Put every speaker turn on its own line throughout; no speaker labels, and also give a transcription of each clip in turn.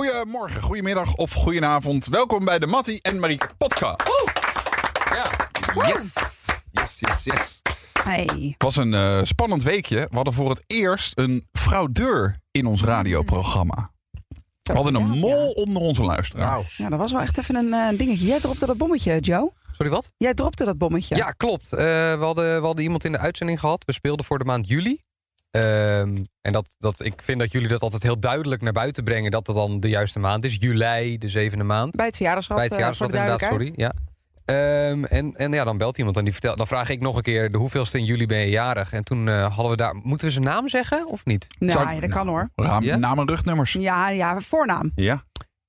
Goedemorgen, goedemiddag of goedenavond. Welkom bij de Mattie en Marieke podcast.
Ja.
Yes, yes, yes, yes.
Hey.
Het was een eh, spannend weekje. We hadden voor het eerst een fraudeur in ons radioprogramma. We hadden een
Inderdaad, Nou,
mol onder onze luisteraar.
Wauw.
Ja, dat was wel echt even een eh, dingetje. Jij dropte dat bommetje, Joe.
Sorry, wat?
Jij dropte dat bommetje.
Ja, klopt. Eh, we, hadden, we hadden iemand in de uitzending gehad. We speelden voor de maand juli. Ehm, en dat, dat, ik vind dat jullie dat altijd heel duidelijk naar buiten brengen... dat het dan de juiste maand is. Juli, de zevende maand.
Bij het verjaardagsrad.
Bij het
eh, voor
verjaardagsrad
de
inderdaad,
duidelijkheid.
sorry. Ja. Ehm, en en ja, dan belt iemand en die vertelt... dan vraag ik nog een keer de hoeveelste in juli ben je jarig. En toen eh, hadden we daar... Moeten we zijn naam zeggen of niet?
Nou,
Zou-
ja, dat kan hoor.
Raam,
Ja?
Naam en rugnummers.
Ja, ja, voornaam.
Ja.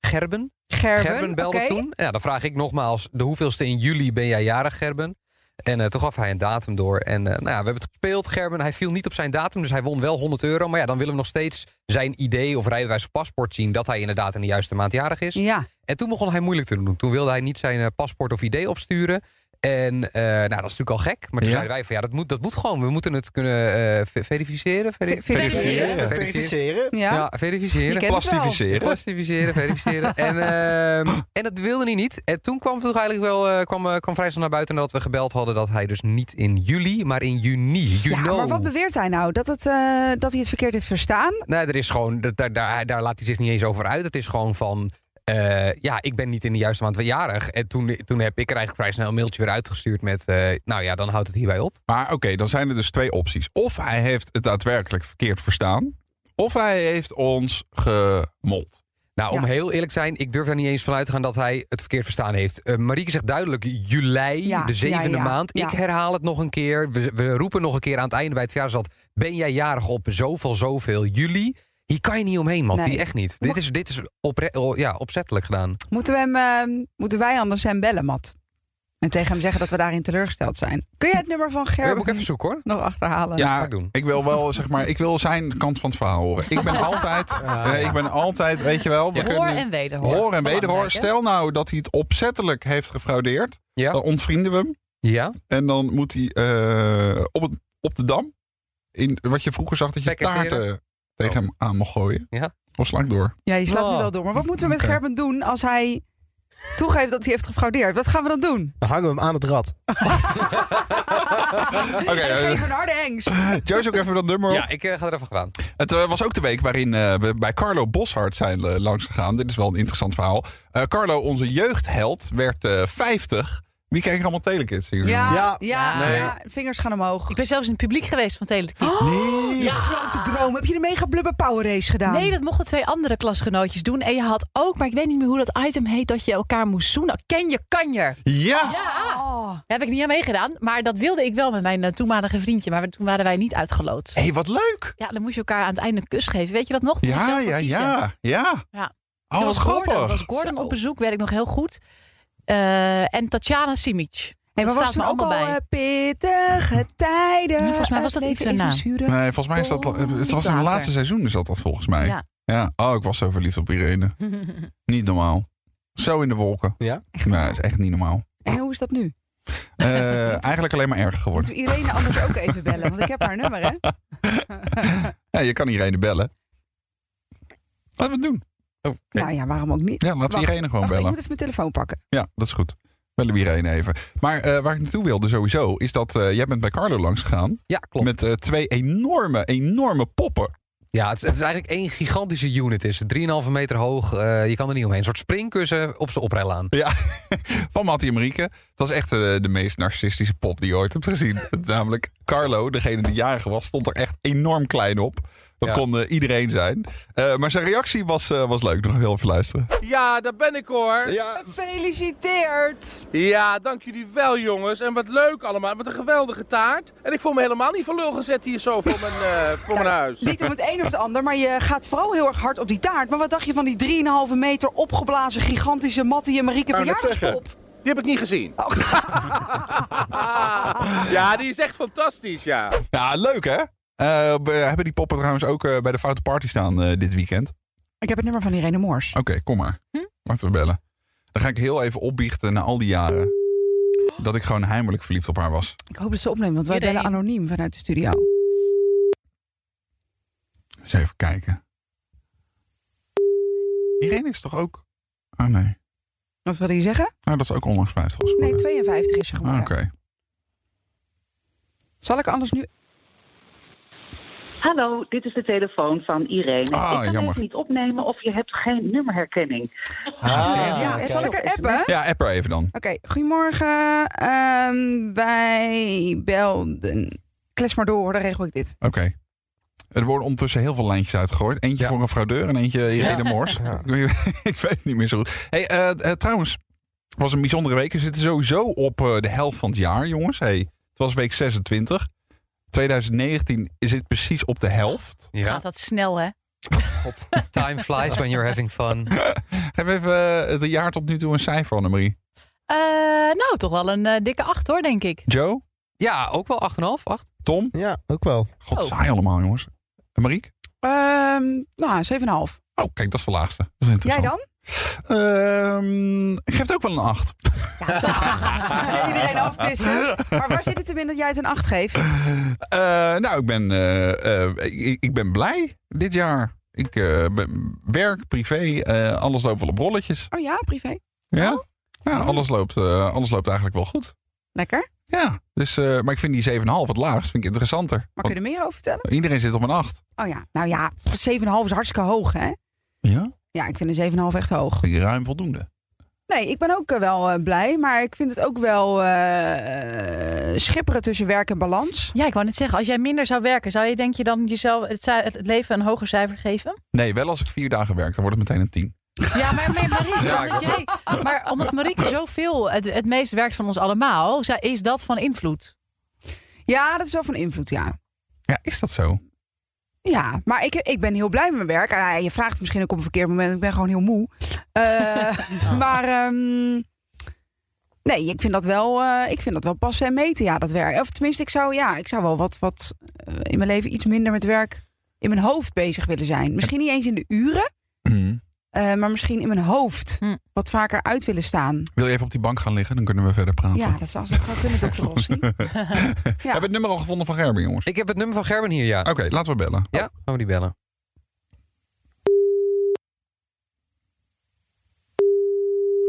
Gerben?
Gerben.
Gerben belde
oké.
toen. Ja, dan vraag ik nogmaals, de hoeveelste in juli ben jij jarig, Gerben? En eh, toen gaf hij een datum door. En eh, nou ja, we hebben het gespeeld, Gerben. Hij viel niet op zijn datum, dus hij won wel 100 euro. Maar ja, dan willen we nog steeds zijn idee of rijbewijs of paspoort zien... dat hij inderdaad in de juiste maand jarig is.
Ja,
En toen begon hij moeilijk te doen. Toen wilde hij niet zijn eh, paspoort of idee opsturen. En eh, nou, dat is natuurlijk al gek. Maar toen
Ja.
zeiden wij van ja, dat moet, dat moet gewoon. We moeten het kunnen eh, ver- verificeren. Veri-
Ver-
verifiëren.
Verifiëren.
Verificeren.
ja.
Ja, verificeren.
Je kent het wel.
Plastificeren.
Plastificeren, verificeren. en, ehm, en dat wilde hij niet. En toen kwam het toch eigenlijk wel eh, kwam, eh, kwam vrij snel naar buiten nadat we gebeld hadden dat hij dus niet in juli, maar in juni. You
Ja,
know.
maar wat beweert hij nou? Dat, het, eh, dat hij het verkeerd heeft verstaan?
Nee, er is gewoon, dat- daar, daar, daar laat hij zich niet eens over uit. Het is gewoon van. eh, ja, ik ben niet in de juiste maand jarig. En toen, toen heb ik er eigenlijk vrij snel een mailtje weer uitgestuurd met... eh, nou ja, dan houdt het hierbij op.
Maar oké, dan zijn er dus twee opties. Of hij heeft het daadwerkelijk verkeerd verstaan. Of hij heeft ons gemold.
Nou, om
Ja.
heel eerlijk te zijn, ik durf er niet eens van uit te gaan dat hij het verkeerd verstaan heeft. Eh, Marieke zegt duidelijk juli,
Ja,
de zevende
ja, ja,
maand.
ja.
Ik herhaal het nog een keer. We, we roepen nog een keer aan het einde bij het verjaarsdag. Ben jij jarig op zoveel, zoveel juli? Hier kan je niet omheen, man.
Nee.
Die echt niet. Dit is, dit is opre- oh, ja, opzettelijk gedaan.
Moeten, we hem, eh, moeten wij anders hem bellen, Matt? En tegen hem zeggen dat we daarin teleurgesteld zijn. Kun jij het nummer van
Ja, Eh, moet ik
Gerben
even zoeken hoor.
nog achterhalen?
Ja,
Ja,
ga ik doen.
Ik wil wel, zeg maar, ik wil zijn kant van het verhaal horen. Ik ben altijd,
Ja.
eh, ik ben altijd, weet je wel, we
Ja.
Hoor
kunnen
en wederhoor.
hoor en wederhoor.
Belangrijk, hè?
Stel nou dat hij het opzettelijk heeft gefraudeerd,
Ja?
dan ontvrienden we hem
Ja?
en dan moet hij eh, op, het, op de dam, in wat je vroeger zag dat je
Lekker
taarten tegen hem aan mocht gooien.
Ja.
Of sla ik door.
Ja, je slaat nu
Wow.
wel door. Maar wat moeten we met
Oké.
Gerben doen als hij toegeeft dat hij heeft gefraudeerd? Wat gaan we dan doen?
Dan hangen we hem aan het rad.
Oké,
En
eh,
geef een harde engs.
Joyce ook even dat nummer op.
Ja, ik eh, ga er even achteraan.
Het eh, was ook de week waarin eh, we bij Carlo Boshart zijn eh, langsgegaan. Dit is wel een interessant verhaal. Eh, Carlo, onze jeugdheld, werd eh 50. Wie kijkt er allemaal telekids hier?
Ja, ja,
Ja.
ja,
Nee.
vingers gaan omhoog.
Ik ben zelfs in het publiek geweest van Telekids.
Nee.
Ja.
Grote droom. Heb je de mega blubber power race gedaan?
Nee, dat mochten twee andere klasgenootjes doen. En je had ook, maar ik weet niet meer hoe dat item heet, dat je elkaar moest zoenen. Ken je kanjer?
Ja!
Ja.
Oh.
Daar heb ik niet aan meegedaan. Maar dat wilde ik wel met mijn eh, toenmalige vriendje. Maar toen waren wij niet uitgeloot.
Hé, wat leuk!
Ja, dan moest je elkaar aan het einde een kus geven. Weet je dat nog? Dan moest je
Ja,
zelf
ja,
kiezen.
ja, ja.
Ja. Toen
Oh, wat
was Gordon,
grappig.
was Gordon
Zo.
op bezoek, weet ik nog heel goed. Eh, en Tatjana Simic.
Hey, maar
Dat
was
staat
toen
me
ook al
allemaal bij.
eh, pittige tijden.
Ja, volgens mij was
Het
dat iets
leven is
daarna.
een zure-
Nee, volgens mij is dat...
Oh,
eh, het
iets
was in het laatste
later.
seizoen is dat, dat volgens mij. Ja.
Ja.
Oh, ik was zo verliefd op Irene. Niet normaal. Zo in de wolken.
Ja?
Echt ja, is echt niet normaal.
En hoe is dat nu?
Eh, eigenlijk alleen maar erger geworden.
Moeten we Irene anders ook even bellen? Want ik heb haar nummer, hè?
Ja, je kan Irene bellen. Laten we het doen.
Oké.
Nou ja, waarom ook niet?
Ja, laten
Wacht,
we Irene gewoon
Wacht, ik
bellen.
moet even mijn telefoon pakken.
Ja, dat is goed. Bellen we Irene even. Maar eh, waar ik naartoe wilde sowieso, is dat eh, jij bent bij Carlo langs gegaan.
Ja, klopt.
Met eh, twee enorme, enorme poppen.
Ja, het, is- het is eigenlijk één gigantische unit. Het is 3,5 meter hoog. eh, je kan er niet omheen. Een soort springkussen op zijn oprijlaan.
Van Mattie en Marieke. Dat is echt eh, de meest narcistische pop die je ooit hebt gezien. Namelijk Carlo, degene die jarig was, stond er echt enorm klein op. Dat
Ja.
kon eh, iedereen zijn. Eh, maar zijn reactie was, eh, was leuk. Nog heel even luisteren.
Ja, daar ben ik hoor.
Ja,
Gefeliciteerd!
Ja, dank jullie wel jongens. En wat leuk allemaal. Wat een geweldige taart. En ik voel me helemaal niet van lul gezet hier zo voor mijn, eh, voor mijn huis.
Niet om het een of het ander, maar je gaat vooral heel erg hard op die taart. Maar wat dacht je van die 3,5 meter opgeblazen gigantische Mattie en Marieke
wou net
verjaardagspop?
Die heb ik niet gezien.
Oh.
Ja, die is echt fantastisch, ja.
ja leuk hè? Eh, we hebben die poppen trouwens ook eh, bij de Foute Party staan eh, dit weekend.
Ik heb het nummer van Irene Moors.
Oké, kom maar.
Hm?
Laten we bellen. Dan ga ik heel even opbiechten na al die jaren dat ik gewoon heimelijk verliefd op haar was.
Ik hoop dat ze opneemt, want wij
Irene.
bellen anoniem vanuit de studio.
Eens even kijken. Irene is toch ook... Oh nee.
Wat wilde je zeggen?
Nou, dat is ook onlangs 50 was
Nee,
geworden.
52 is ze
Ah,
geworden.
Oké.
Zal ik anders nu...
Hallo, dit is de telefoon van Irene.
Ah,
ik kan
jammer.
even niet opnemen of je hebt geen nummerherkenning.
ja,
oké.
zal ik er appen? Oké,
Ja, app er even dan.
goedemorgen. Ehm, wij belden... Kles maar door, dan regel ik dit.
Oké. Er worden ondertussen heel veel lijntjes uitgegooid. Eentje
Ja.
voor een fraudeur en eentje Irene Moors.
Ja.
Ik, weet, ik weet niet meer zo goed. Hey, eh, eh, trouwens, het was een bijzondere week. We zitten sowieso op eh, de helft van het jaar, jongens. Hey, het was week 26. 2019 is dit precies op de helft.
Ja,
Gaat dat snel, hè?
god. Time flies when you're having fun.
Geef even eh, het jaar tot nu toe een cijfer, Annemarie.
Eh, nou, toch wel een eh, dikke acht hoor, denk ik.
Joe?
Ja, ook wel 8,5, 8.
Tom?
Ja, ook wel.
God,
Oh.
saai allemaal, jongens. En Mariek?
Ehm nou, 7,5.
Oh, kijk, dat is de laagste. Dat is
Jij
interessant.
dan?
Ehm, ik geef het ook wel een 8.
Iedereen afpissen. Maar waar zit het hem in dat jij het een 8 geeft?
Eh, nou, ik ben, eh, eh, ik, ik ben blij dit jaar. Ik eh, ben- werk, privé, eh, alles loopt wel op rolletjes.
Oh ja, privé.
Ja, ja alles, loopt, eh, alles loopt eigenlijk wel goed.
Lekker.
Ja, dus, eh, maar ik vind die 7,5 het laagst, vind ik interessanter.
Maar kun je er meer over vertellen?
Want iedereen zit op een 8.
Oh ja, nou ja, 7,5 is hartstikke hoog, hè?
Ja?
Ja, ik vind een 7,5 echt hoog.
Vind je ruim voldoende.
Nee, ik ben ook eh, wel eh, blij, maar ik vind het ook wel eh, schipperen tussen werk en balans.
Ja, ik wou net zeggen, als jij minder zou werken, zou je denk je dan jezelf het, ci- het leven een hoger cijfer geven?
Nee, wel als ik vier dagen werk, dan wordt het meteen een 10.
Ja, maar nee, Marieke,
Ja,
omdat
ik-
jij- maar omdat Marieke zoveel het, het meest werkt van ons allemaal, zij- is dat van invloed.
Ja, dat is wel van invloed, ja.
Ja, is dat zo?
Ja, maar ik, ik ben heel blij met mijn werk. Ah, je vraagt het misschien ook op een verkeerd moment. Ik ben gewoon heel moe. Eh, Maar ehm, nee, ik vind dat wel, eh, ik vind dat wel passen en meten, ja, dat werk. Of tenminste, ik zou, ja, ik zou wel wat, wat eh, in mijn leven iets minder met werk in mijn hoofd bezig willen zijn. Misschien niet eens in de uren,
Hm.
eh, maar misschien in mijn hoofd
Hm.
wat vaker uit willen staan.
Wil je even op die bank gaan liggen? Dan kunnen we verder praten.
Ja, dat zou, dat zou kunnen, dokter Rossi.
Hebben we het nummer al gevonden van Gerben, jongens?
Ik heb het nummer van Gerben hier, ja.
Oh.
Oké, laten we bellen.
Ja, gaan we die bellen.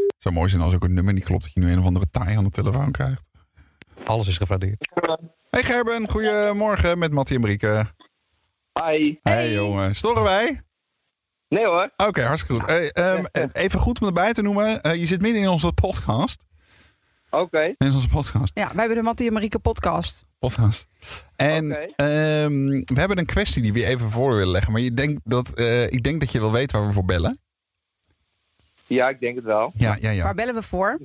Het zou mooi zijn als ook een nummer niet klopt dat je nu een of andere taai aan de telefoon krijgt.
Alles is gefraudeerd.
Hey Gerben, goedemorgen met Mattie en Marieke.
Hi.
Hey, jongen, storen wij?
Nee hoor.
Oké, hartstikke goed. Hey, ehm, eh, even goed om erbij te noemen, eh, je zit midden in onze podcast.
Oké.
In onze podcast.
Ja, wij hebben de Mattie en Marieke podcast.
podcast. En
Oké.
ehm, we hebben een kwestie die we je even voor willen leggen. Maar je denkt dat, eh, ik denk dat je wel weet waar we voor bellen.
Ja, ik denk het wel.
Ja, ja, ja.
Waar bellen we voor?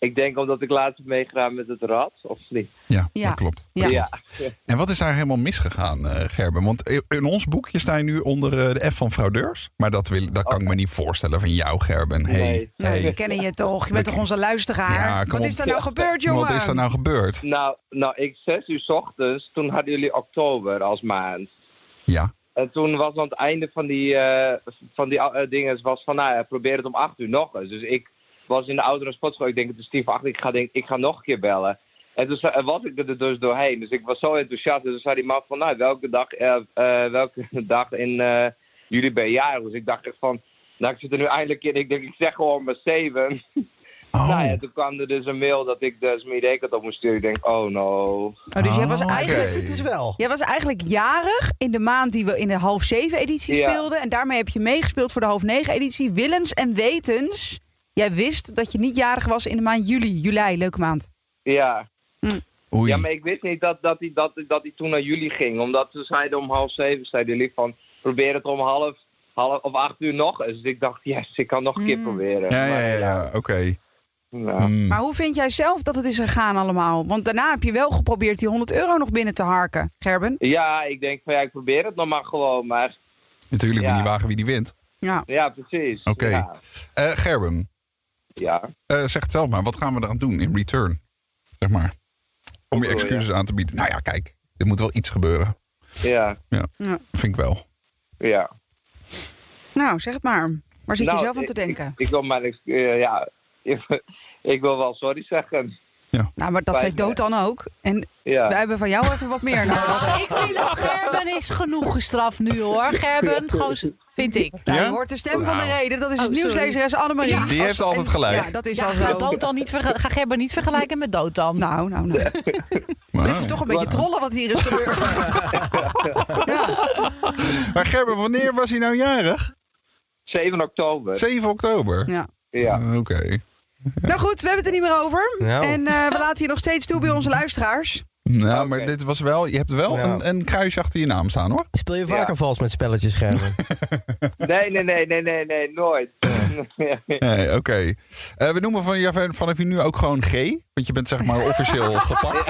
Ik denk omdat ik laatst heb meegedaan met het rad, of niet?
Ja,
Ja.
dat klopt.
Ja.
Ja.
En wat is daar helemaal misgegaan, eh, Gerben? Want i- in ons boekje sta je nu onder eh, de F van fraudeurs. Maar dat, wil, dat kan ik me niet voorstellen van jou, Gerben. Hey,
Nee.
Nou, we
hey.
kennen je toch? Je bent toch onze
Ja,
luisteraar?
kom
Wat
op.
is er nou gebeurd, jongen?
Wat is er nou gebeurd?
Nou, nou, ik zes uur 's ochtends, toen hadden jullie oktober als maand.
Ja.
En toen was aan het einde van die, eh, van die eh, dingen, was van nou, ja, probeer het om acht uur nog eens. Dus ik was in de oudere sportschool, ik denk het is tien voor acht, ik ga, denk, ik ga nog een keer bellen. En toen za- was ik er dus doorheen, dus ik was zo enthousiast. Dus toen zei die man van, nou, welke dag, eh, eh, welke dag in eh, jullie ben je jarig? Dus ik dacht echt van, nou, ik zit er nu eindelijk in. Ik denk, ik zeg gewoon maar zeven.
Oh.
Nou ja, toen kwam er dus een mail dat ik dus mijn ID-kant op moest sturen. Ik denk, oh no.
Oh, dus jij was,
Oh, oké.
eigenlijk,
Dus dit is wel.
jij was eigenlijk jarig in de maand die we in de half zeven editie
Ja.
speelden. En daarmee heb je meegespeeld voor de half negen editie. Willens en wetens. Jij wist dat je niet jarig was in de maand juli. Juli, leuke maand.
Ja.
Oei.
Ja, maar ik wist niet dat, dat, hij, dat, dat hij toen naar jullie ging. Omdat ze zeiden om half zeven, zeiden jullie van... probeer het om half, half of acht uur nog eens. Dus ik dacht, yes, ik kan nog een
Mm.
keer proberen.
Ja, ja,
Maar
ja, ja, oké.
nou,
Hmm.
Maar hoe vind jij zelf dat het is gegaan allemaal? Want daarna heb je wel geprobeerd die 100 euro nog binnen te harken, Gerben.
ja, ik denk van ja, ik probeer het nog maar gewoon. Maar
Natuurlijk, wie
Ja.
die wagen wie die wint.
Ja.
ja, precies.
Oké.
Ja,
Eh, Gerben,
ja.
eh, zeg het zelf maar. Wat gaan we eraan doen in return? Zeg maar. Om je
bedoel je?
excuses aan te bieden. Nou ja, kijk. Er moet wel iets gebeuren.
ja,
Vind ik wel.
ja.
Nou, zeg het maar. Waar zit
Nou,
je zelf aan te
ik-
denken?
Ik, ik wil mijn... ex- eh, ja, ik, wil wel sorry zeggen.
Nou, maar dat zei
Spijt me.
Dood dan ook. En
Ja.
we hebben van jou even wat meer nodig.
Nou, ik vind dat Gerben is genoeg gestraft nu hoor. Gerben, gewoon, z- vind ik.
Nou,
Ja?
je hoort de stem van de
Nou.
reden. Dat is
Oh,
het
sorry.
nieuwslezeres Annemarie.
Ja.
Die heeft altijd
en-
gelijk.
Ja, dat is
Ja,
wel
ga,
zo.
dood dan niet verge- ga Gerben niet vergelijken met dood dan.
Nou, nou, nou. Dit is toch een beetje trollen wat hier is gebeurd. ja.
Maar Gerben, wanneer was hij nou jarig?
7 oktober.
7 oktober.
Ja.
Ja.
Eh, Oké.
Nou goed, we hebben het er niet meer over.
Nou.
En eh, we laten hier nog steeds toe bij onze luisteraars.
Nou,
Oké.
maar dit was wel. Je hebt wel
Ja.
een, een kruisje achter je naam staan hoor.
Speel je vaker
Ja.
vals met spelletjes, Gerben?
Nee, nee, nee, nee, nee, nee, nooit.
Nee, oké. Eh, we noemen van, ja, van- vanaf hier nu ook gewoon G. Want je bent zeg maar officieel gepakt.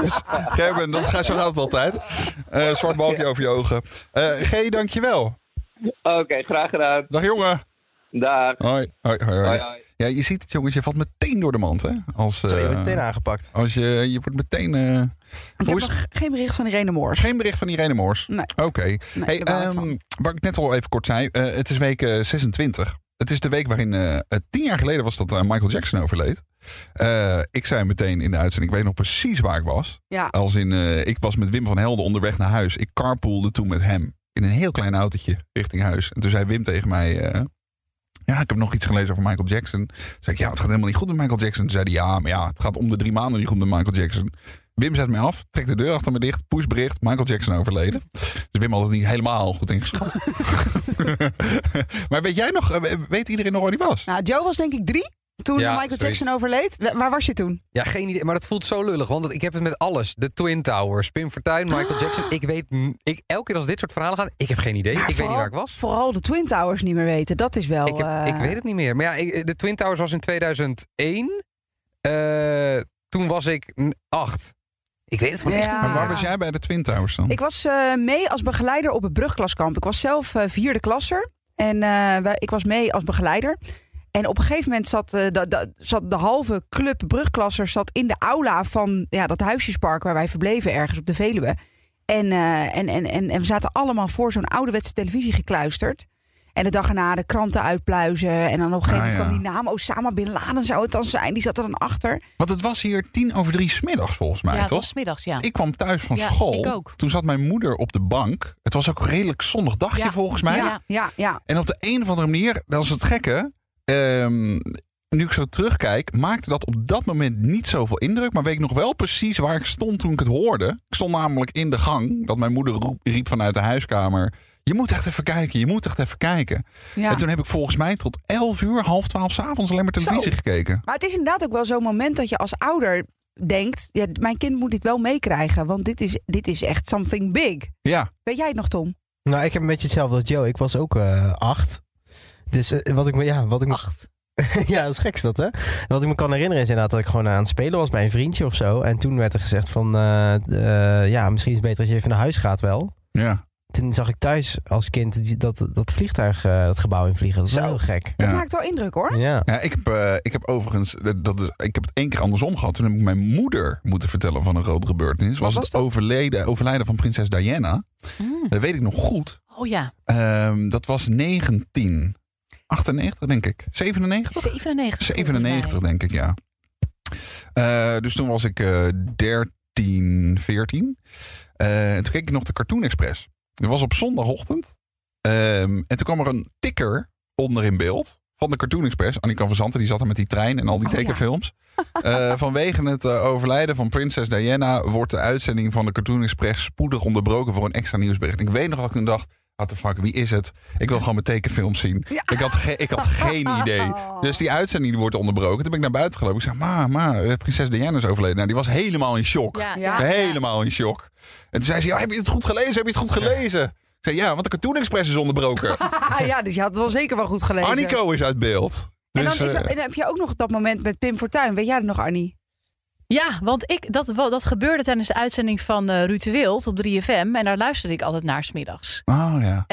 dus Gerben, dat gaat zo gaat het altijd. Eh, zwart balkje over je ogen. Eh, G, dankjewel.
Oké, graag gedaan.
Dag jongen.
Dag.
Hoi. Hoi, hoi, hoi.
Hoi, hoi.
Ja, je ziet het jongens, je valt meteen door de mand hè. Als,
Zo, je
eh,
wordt meteen aangepakt.
als je, je wordt meteen... eh,
Ik
Hoe
heb
is-
nog geen bericht van Irene Moors.
Geen bericht van Irene Moors?
Nee.
Oké.
Nee,
Hey,
daar baal ik
ehm,
van.
wat ik net al even kort zei, eh, het is week eh, 26. Het is de week waarin eh, eh, tien jaar geleden was dat eh, Michael Jackson overleed. Eh, ik zei meteen in de uitzending, ik weet nog precies waar ik was.
Ja.
Als in, eh, ik was met Wim van Helden onderweg naar huis. Ik carpoolde toen met hem in een heel klein autootje richting huis. En toen zei Wim tegen mij, eh, ja, ik heb nog iets gelezen over Michael Jackson. Toen zei ik, ja, het gaat helemaal niet goed met Michael Jackson. Toen zei hij, ja, maar ja, het gaat om de drie maanden niet goed met Michael Jackson. Wim zet mij af, trekt de deur achter me dicht, pushbericht, Michael Jackson overleden. Dus Wim had het niet helemaal goed ingeschat. maar weet jij nog, eh, weet iedereen nog waar die was?
Nou, Joe was denk ik drie toen
Ja,
Michael
zoiets.
Jackson overleed. Wa- Waar was je toen?
Ja, geen idee. Maar dat voelt zo lullig. Want ik heb het met alles. De Twin Towers, Pim Fortuyn, Michael
Ah.
Jackson. Ik weet... n- Ik, elke keer als dit soort verhalen gaan, ik heb geen idee. ik weet niet waar ik was.
Vooral de Twin Towers niet meer weten. Dat is wel...
Ik, heb-
eh,
ik weet het niet meer. Maar ja, ik- de Twin Towers was in 2001. Eh, toen was ik n- acht. Ik weet het gewoon echt
Ja.
Ah,
niet.
Maar waar was jij bij de Twin Towers dan?
Ik was eh, mee als begeleider op het brugklaskamp. Ik was zelf eh, vierde klasser. En eh, wij- ik was mee als begeleider. En op een gegeven moment zat, eh, da- da- zat de halve club brugklassers zat in de aula van ja, dat huisjespark waar wij verbleven ergens op de Veluwe. En, eh, en, en, en, en we zaten allemaal voor zo'n ouderwetse televisie gekluisterd. En de dag erna de kranten uitpluizen. En dan op een gegeven
Ah,
moment
ja.
kwam die naam Osama Bin Laden zou het dan zijn. Die zat er dan achter.
Want het was hier tien over drie smiddags volgens mij,
ja, het
toch?
was 's middags, ja.
Ik kwam thuis van
Ja,
school.
ik ook.
Toen zat mijn moeder op de bank. Het was ook een redelijk zonnig dagje
Ja.
volgens mij.
Ja.
Ja, ja.
En op de een of andere manier, dat is het gekke. ehm, nu ik zo terugkijk, maakte dat op dat moment niet zoveel indruk. Maar weet ik nog wel precies waar ik stond toen ik het hoorde. Ik stond namelijk in de gang dat mijn moeder roep- riep vanuit de huiskamer. Je moet echt even kijken, je moet echt even kijken.
ja.
En toen heb ik volgens mij tot 11 uur, half 12 s'avonds alleen maar televisie
Zo.
gekeken.
Maar het is inderdaad ook wel zo'n moment dat je als ouder denkt: ja, mijn kind moet dit wel meekrijgen, want dit is, dit is echt something big.
Ja,
Weet jij het nog, Tom?
Nou, ik heb een beetje hetzelfde als Joe. Ik was ook eh, acht. Dus eh, wat ik me... Ja, wat ik me... Acht? ja, dat is gek is dat, hè? Wat ik me kan herinneren is inderdaad dat ik gewoon aan het spelen was bij een vriendje of zo. En toen werd er gezegd van... eh, eh, ja, misschien is het beter als je even naar huis gaat wel.
ja.
Toen zag ik thuis als kind die- dat, dat vliegtuig eh, het gebouw in vliegen. Dat is
Zo.
heel gek.
Dat
Ja.
maakt wel indruk hoor.
Ja.
Ja, ik heb, eh, ik heb overigens, eh, dat is, ik heb het één keer andersom gehad. Toen heb ik mijn moeder moeten vertellen van een grote gebeurtenis. Was,
was
het
dat?
overleden, overlijden van prinses Diana.
Mm.
Dat weet ik nog goed.
Oh ja,
Ehm, dat was 19. 98 denk ik. 97?
97. volgens
97
mij.
denk ik, ja. Eh, dus toen was ik eh 13, 14. Eh, en toen keek ik nog de Cartoon Express. Dat was op zondagochtend. Ehm, en toen kwam er een tikker onder in beeld van de Cartoon Express. Annika van Zanten, die zat er met die trein en al die
Oh, ja.
tekenfilms. Eh, vanwege het eh, overlijden van prinses Diana... wordt de uitzending van de Cartoon Express spoedig onderbroken... voor een extra nieuwsbericht. Ik weet nog dat ik toen dacht... What the fuck, wie is het? Ik wil gewoon mijn tekenfilms zien.
Ja.
Ik, had ge- ik had geen idee.
Oh.
Dus die uitzending die wordt onderbroken. Toen ben ik naar buiten gelopen. Ik zei, ma, ma, eh, prinses Diana is overleden. Nou, die was helemaal in shock.
Ja,
Ja.
ja.
helemaal in shock. En toen zei ze, ja, heb je het goed gelezen? Heb je het goed gelezen? Ik zei, ja, want de Cartoon Express is onderbroken.
Ah, ja, dus je had het wel zeker wel goed gelezen.
Arnico is uit beeld.
en, dan
Dus,
is er-
eh,
en dan heb je ook nog dat moment met Pim Fortuyn. Weet jij dat nog, Arnie?
Ja, want ik, dat, wa- dat gebeurde tijdens de uitzending van eh Ruud de Wild op 3FM. En daar luisterde ik altijd naar smiddags.
oh ja.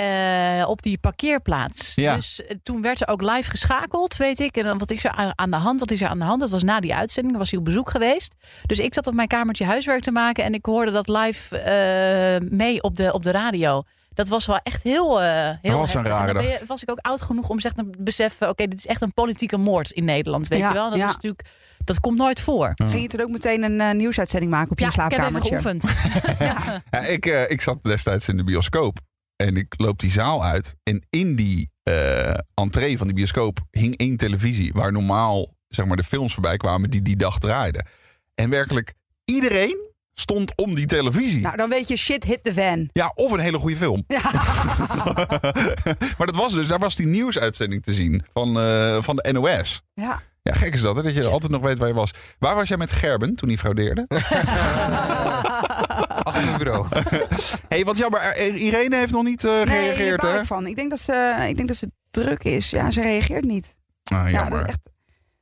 Eh, op die parkeerplaats.
Ja.
Dus eh, toen werd ze ook live geschakeld, weet ik. En dan, wat is er aan- aan de hand? Wat is er aan de hand? Dat was na die uitzending. Dan was hij op bezoek geweest. Dus ik zat op mijn kamertje huiswerk te maken. En ik hoorde dat live eh, mee op de, op de radio. Dat was wel echt heel, eh heel
was een
heftig. En
rare
dan ben je- was ik ook oud genoeg om zeg te beseffen... oké, dit is echt een politieke moord in Nederland, weet
Ja,
je wel. En dat
ja.
is natuurlijk Dat komt nooit voor.
Hm.
Ging je toen ook meteen een eh, nieuwsuitzending maken op je
ik heb even
slaapkamertje?
geoefend. ja.
Ja, ik, eh, ik zat destijds in de bioscoop. En ik loop die zaal uit. En in die eh, entree van die bioscoop hing één televisie. Waar normaal zeg maar, de films voorbij kwamen die die dag draaiden. En werkelijk iedereen stond om die televisie.
nou, dan weet je, shit hit the van.
Ja, of een hele goede film.
Ja.
maar dat was dus, daar was die nieuwsuitzending te zien van, eh, van de NOS.
ja.
Ja, gek is dat, hè? dat je altijd nog weet waar je was. Waar was jij met Gerben toen hij fraudeerde?
Achter mijn bureau.
hey, wat jammer, eh, Irene heeft nog niet eh,
Nee,
gereageerd,
daar baal
hè?
ik van. Ik denk, dat ze, ik denk dat ze druk is. Ja, ze reageert niet.
Ah,
Ja, dat
jammer.
is echt...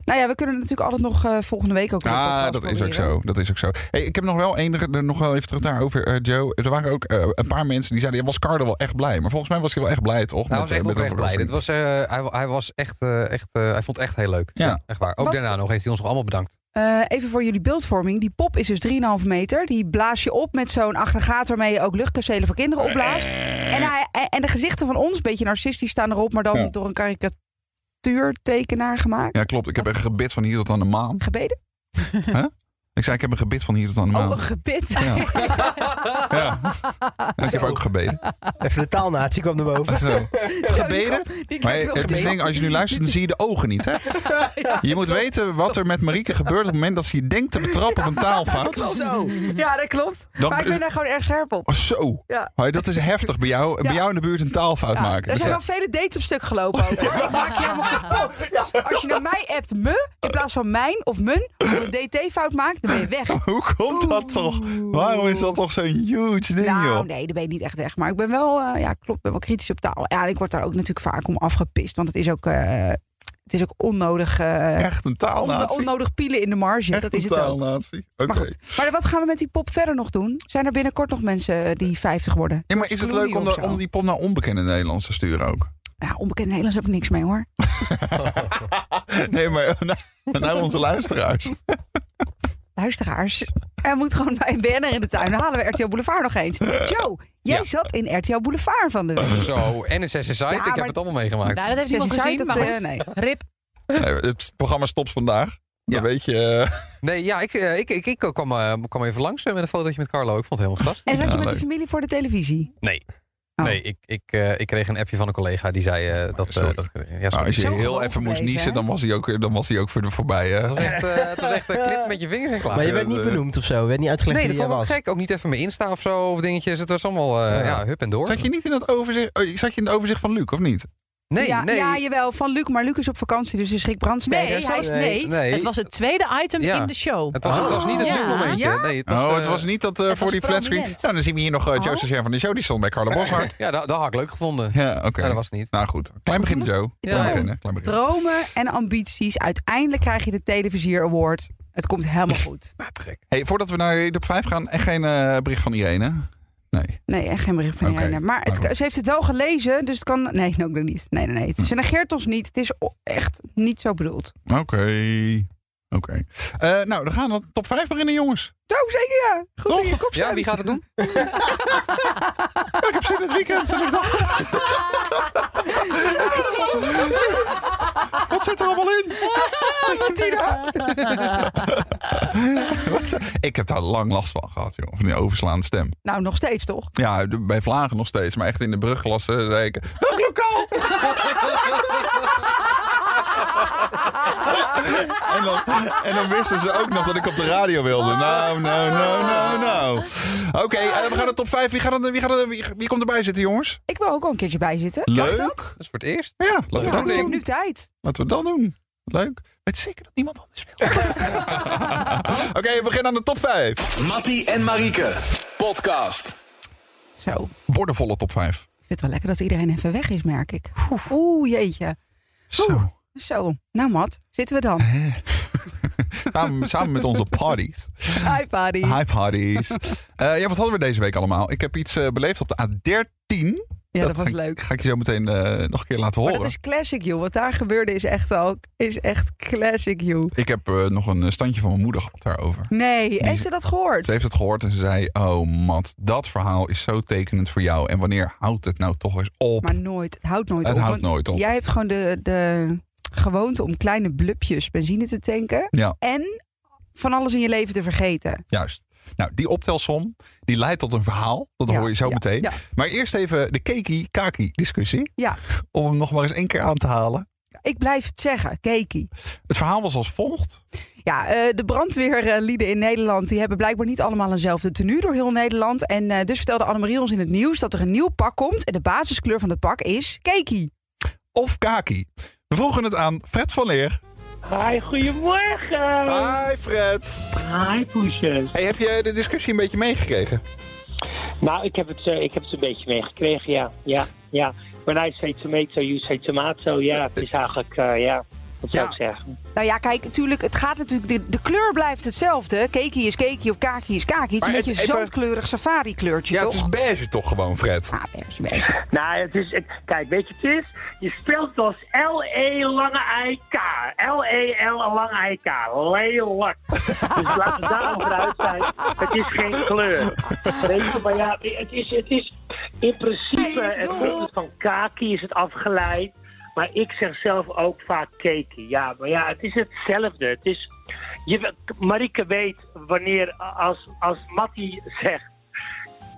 Nou ja, we kunnen natuurlijk altijd nog eh, volgende week ook weer een
Ah,
podcast
dat is ook
proberen.
zo. Dat is ook zo. Hey, ik heb nog wel enige, er- nog wel even terug daarover, eh, Joe. Er waren ook eh, een paar mensen die zeiden, ja, was Carter wel echt blij? Maar volgens mij was hij wel echt blij, toch?
Hij was
eh,
echt oprecht
een
blij. Dit
verrassing.
was, eh, hij, wa- hij was echt, eh, echt eh, hij vond het echt heel leuk.
Ja.
Echt waar. Ook
Wat-
daarna nog heeft hij ons nog allemaal bedankt.
Eh, even voor jullie beeldvorming. Die pop is dus 3,5 meter. Die blaas je op met zo'n aggregaat waarmee je ook luchtkastelen voor kinderen opblaast.
Eh.
En, hij, en- en de gezichten van ons, een beetje narcistisch, staan erop, maar dan
Ja.
door een karikatuurtekenaar gemaakt.
Ja, klopt. Ik heb een gebit van hier tot aan de maan.
Gebeden?
Ik zei, ik heb een gebit van hier tot aan de
Oh,
maan.
een gebit.
Nou. Ja. ja. Ik heb ook gebeden.
Even de taalnatie kwam er boven.
Zo. Gebeden?
Die
Maar
krijgt wel
het is
gebeden.
ding, als je nu luistert, dan zie je de ogen niet. Hè? Je moet weten wat er met Marieke gebeurt op het moment dat ze je denkt te betrappen op een taalfout.
Zo. Ja, dat klopt.
Dan-
maar ik ben daar gewoon erg scherp op.
Oh, zo.
Ja.
Hoi, dat is heftig bij jou, bij
Ja.
jou in de buurt een taalfout
Ja,
maken. Dus
er zijn
Dat-
al vele dates op stuk gelopen ook. hoor. Ik maak je helemaal kapot. Als je naar mij appt me in plaats van mijn of mun of een DT-fout maakt, dan ben je weg.
Hoe komt dat toch? Waarom is dat toch zo'n huge ding,
Nou,
joh?
nee, daar ben ik niet echt weg. Maar ik ben wel, eh, ja, klopt, ben wel kritisch op taal. Ja, en ik word daar ook natuurlijk vaak om afgepist. Want het is ook, eh, het is ook onnodig, eh,
Echt een
on-
taalnatie.
onnodig pielen in de marge.
Echt
dat
een
is het ook.
taalnatie. Oké.
Maar goed, maar wat gaan we met die pop verder nog doen? Zijn er binnenkort nog mensen eh, die 50 worden?
Ja, maar is het
Clooney
leuk om,
of
de-
zo?
om die pop naar onbekende Nederlands te sturen ook?
Ja, onbekend Nederlands heb ik niks mee hoor.
Nee, maar naar, naar onze luisteraars.
Luisteraars, hij moet gewoon bij BNR in de tuin. Dan halen we RTL Boulevard nog eens. Joe, jij
Ja.
zat in RTL Boulevard van de week.
Zo, en een SSI. ik heb
maar-
het allemaal meegemaakt.
Nou, dat heeft
Ze
niemand gezien,
zei dat,
maar
eh,
goed.
nee.
Rip.
Nee, het programma stopt vandaag. Dan
Ja.
weet je... eh,
Nee, ja, ik, eh, ik, ik, ik kwam, eh, kwam even langs eh, met een fotootje met Carlo. Ik vond het helemaal fantastisch.
En zat je
Ja,
met de
leuk.
familie voor de televisie?
Nee.
Oh.
Nee, ik, ik, eh, ik kreeg een appje van een collega die zei eh, dat, eh,
Oh, sorry.
dat... Ja,
Nou,
sorry.
als je
Zo
heel
gewoon
even moest
gebleven,
niezen,
hè?
dan was hij ook, dan was hij ook voor de voorbij. hè?
Het was echt, eh, het was echt eh, knip met je vingers en klaar.
Maar je werd niet benoemd of zo. Je werd niet uitgelegd
Nee, dat
wie jij
vond ik ook
was.
gek. Ook niet even mijn Insta of zo of dingetjes. Het was allemaal eh,
Ja.
ja, hup en door.
Zat je niet in het overzicht? oh, Zat je in het overzicht van Luc of niet?
Nee,
ja,
nee.
ja, jawel, van Luc. Maar Luc is op vakantie, dus is Rick Brandsteder.
Nee, hij
Zij
is,
Nee.
nee.
Nee.
het was het tweede item
Ja.
in de show. Oh.
Het was, het was niet het
Ja.
momentje. Nee, het was,
oh,
eh,
het was niet dat eh,
het
voor
was
die flatscreen.
prominent.
Nou, dan zien we hier nog eh, Joseph Scher van de show. Die stond bij Carla Boshart.
Ja, dat, dat had ik leuk gevonden.
ja, oké.
Ja, dat was het niet.
Nou goed, klein begin Joe. Klein
Ja.
begin, hè? Klein begin.
Dromen en ambities. Uiteindelijk krijg je de Televisier Award. Het komt helemaal goed.
Hey, voordat we naar de top 5 gaan, echt geen eh, bericht van Irene. Nee.
Nee, echt geen bericht van
Oké,
Irene. Maar
maar goed.
het, ze heeft het wel gelezen, dus het kan... Nee, ook nog niet. Nee, nee, nee. Ze negeert ons niet. Het is o- echt niet zo bedoeld.
Oké. Oké. Eh, nou, dan gaan we top 5 beginnen, jongens.
Zo, Nou, zeker ja. Goed
Toch?
in je kop
Ja, wie gaat het doen?
Ik heb zin in het weekend. zullen we dat- Wat zit er allemaal in? Wat? Ik heb daar lang last van gehad, joh. Van die overslaande stem.
Nou, nog steeds toch?
Ja, de- bij Vlagen nog steeds. Maar echt in de brugklasse zei ik... Welk lokaal? en, dan, en dan wisten ze ook nog dat ik op de radio wilde. Nou, nou, nou, nou, nou. Oké, eh, we gaan de top 5. Wie, gaat er, wie, gaat er, wie, wie komt erbij zitten, jongens?
Ik wil ook wel een keertje bij zitten.
Leuk.
Mag dat?
Dat is voor het eerst.
Ja, laten we
Ja,
dat
ik heb
doen.
nu tijd.
Laten we dat doen. Leuk. Weet zeker dat niemand anders wil. Oké, we beginnen aan de top 5.
Mattie en Marieke, podcast.
Zo.
Bordenvolle top 5.
Ik vind het wel lekker dat iedereen even weg is, merk ik. Oeh, jeetje.
Zo.
Zo. Nou, Mat, zitten we dan?
Samen, samen met onze parties.
Hi, buddy.
Hi parties. Eh, ja, wat hadden we deze week allemaal? Ik heb iets eh, beleefd op de A13.
Ja, dat was
ga, ik-
leuk.
Ga ik je zo meteen eh, nog een keer laten
Maar
horen.
dat is classic, joh. Wat daar gebeurde is echt al, is echt classic, joh.
Ik heb eh, nog een eh, standje van mijn moeder gehad daarover.
Nee, heeft ze dat gehoord?
Ze heeft het gehoord en ze zei: Oh, Mat, dat verhaal is zo tekenend voor jou. En wanneer houdt het nou toch eens op?
Maar nooit. Het houdt nooit
Het
op.
houdt
want
nooit op.
Jij hebt gewoon de, de, gewoonte om kleine blubjes benzine te tanken.
Ja.
En van alles in je leven te vergeten.
Juist. Nou, die optelsom, die leidt tot een verhaal. Dat
Ja,
hoor je zo
ja,
meteen.
ja.
Maar eerst even de keki-kaki discussie.
Ja.
Om hem nog maar eens één keer aan te halen.
Ik blijf het zeggen, Keki.
Het verhaal was als volgt.
Ja, eh, de brandweerlieden in Nederland die hebben blijkbaar niet allemaal eenzelfde tenue door heel Nederland. En eh, dus vertelde Annemarie ons in het nieuws dat er een nieuw pak komt. En de basiskleur van het pak is Keki.
Of kaki. We vroegen het aan Fred van Leer.
Hi, goedemorgen.
Hi Fred.
Hi, poesjes.
Hey, heb je de discussie een beetje meegekregen?
Nou, ik heb het, eh, ik heb het een beetje meegekregen, ja. Ja, ja. When I say tomato, you say tomato. Ja, het is eigenlijk, eh, ja, wat zou
Ja.
ik zeggen?
Nou ja, kijk, natuurlijk, het gaat natuurlijk. De, de kleur blijft hetzelfde. Keki is Keki of Kaki is Kaki. Het is
Maar
een
het-
beetje een
even-
zandkleurig safari kleurtje,
Ja, het
toch?
is beige toch gewoon, Fred?
Ah, best, best.
Nou, het is, het- kijk, weet je, het is, je speelt het als L-E E lange I-K. L-E-L E lange I-K. Lelijk. Dus laten we daarover uit zijn. Het is geen kleur. Weet je, maar ja, het is, het is in principe,
Nee, het is
het
dol.
komt dus van kaki is het afgeleid. Maar ik zeg zelf ook vaak keki. Ja, maar ja, het is hetzelfde. Het is, je, weet- Marike weet wanneer, als, als Mattie zegt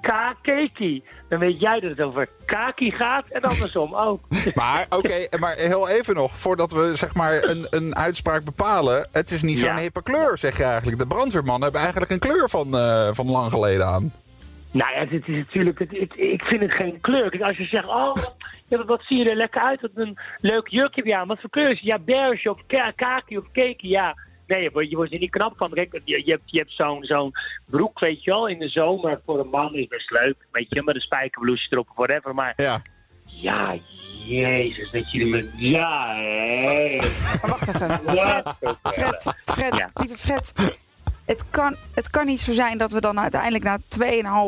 kakeki, dan weet jij dat het over kaki gaat en andersom ook.
Maar oké, maar heel even nog, voordat we zeg maar een, een uitspraak bepalen. Het is niet zo'n
Ja.
hippe kleur, zeg je eigenlijk. De brandweermannen hebben eigenlijk een kleur van, eh, van lang geleden aan.
Nou ja, dit is natuurlijk. Het, het- ik vind het geen kleur. Kijk, als je zegt, oh, ja, wat- wat zie je er lekker uit? Wat een leuk jurk heb je aan. Wat voor kleur is het? Ja, beige of ka- kaki of cakey, ja. Nee, je wordt, je wordt er niet knap van. Kijk, je, je hebt, je hebt zo'n zo'n broek, weet je wel, in de zomer voor een man is best leuk. Weet je, met een spijkerbloesje erop of whatever. Maar
Ja.
ja, jezus, dat jullie met... Ja, hé.
Maar wacht even.
Wat
Fred,
een
Fred, Fred,
Ja.
lieve Fred. Het kan, het kan niet zo zijn dat we dan uiteindelijk na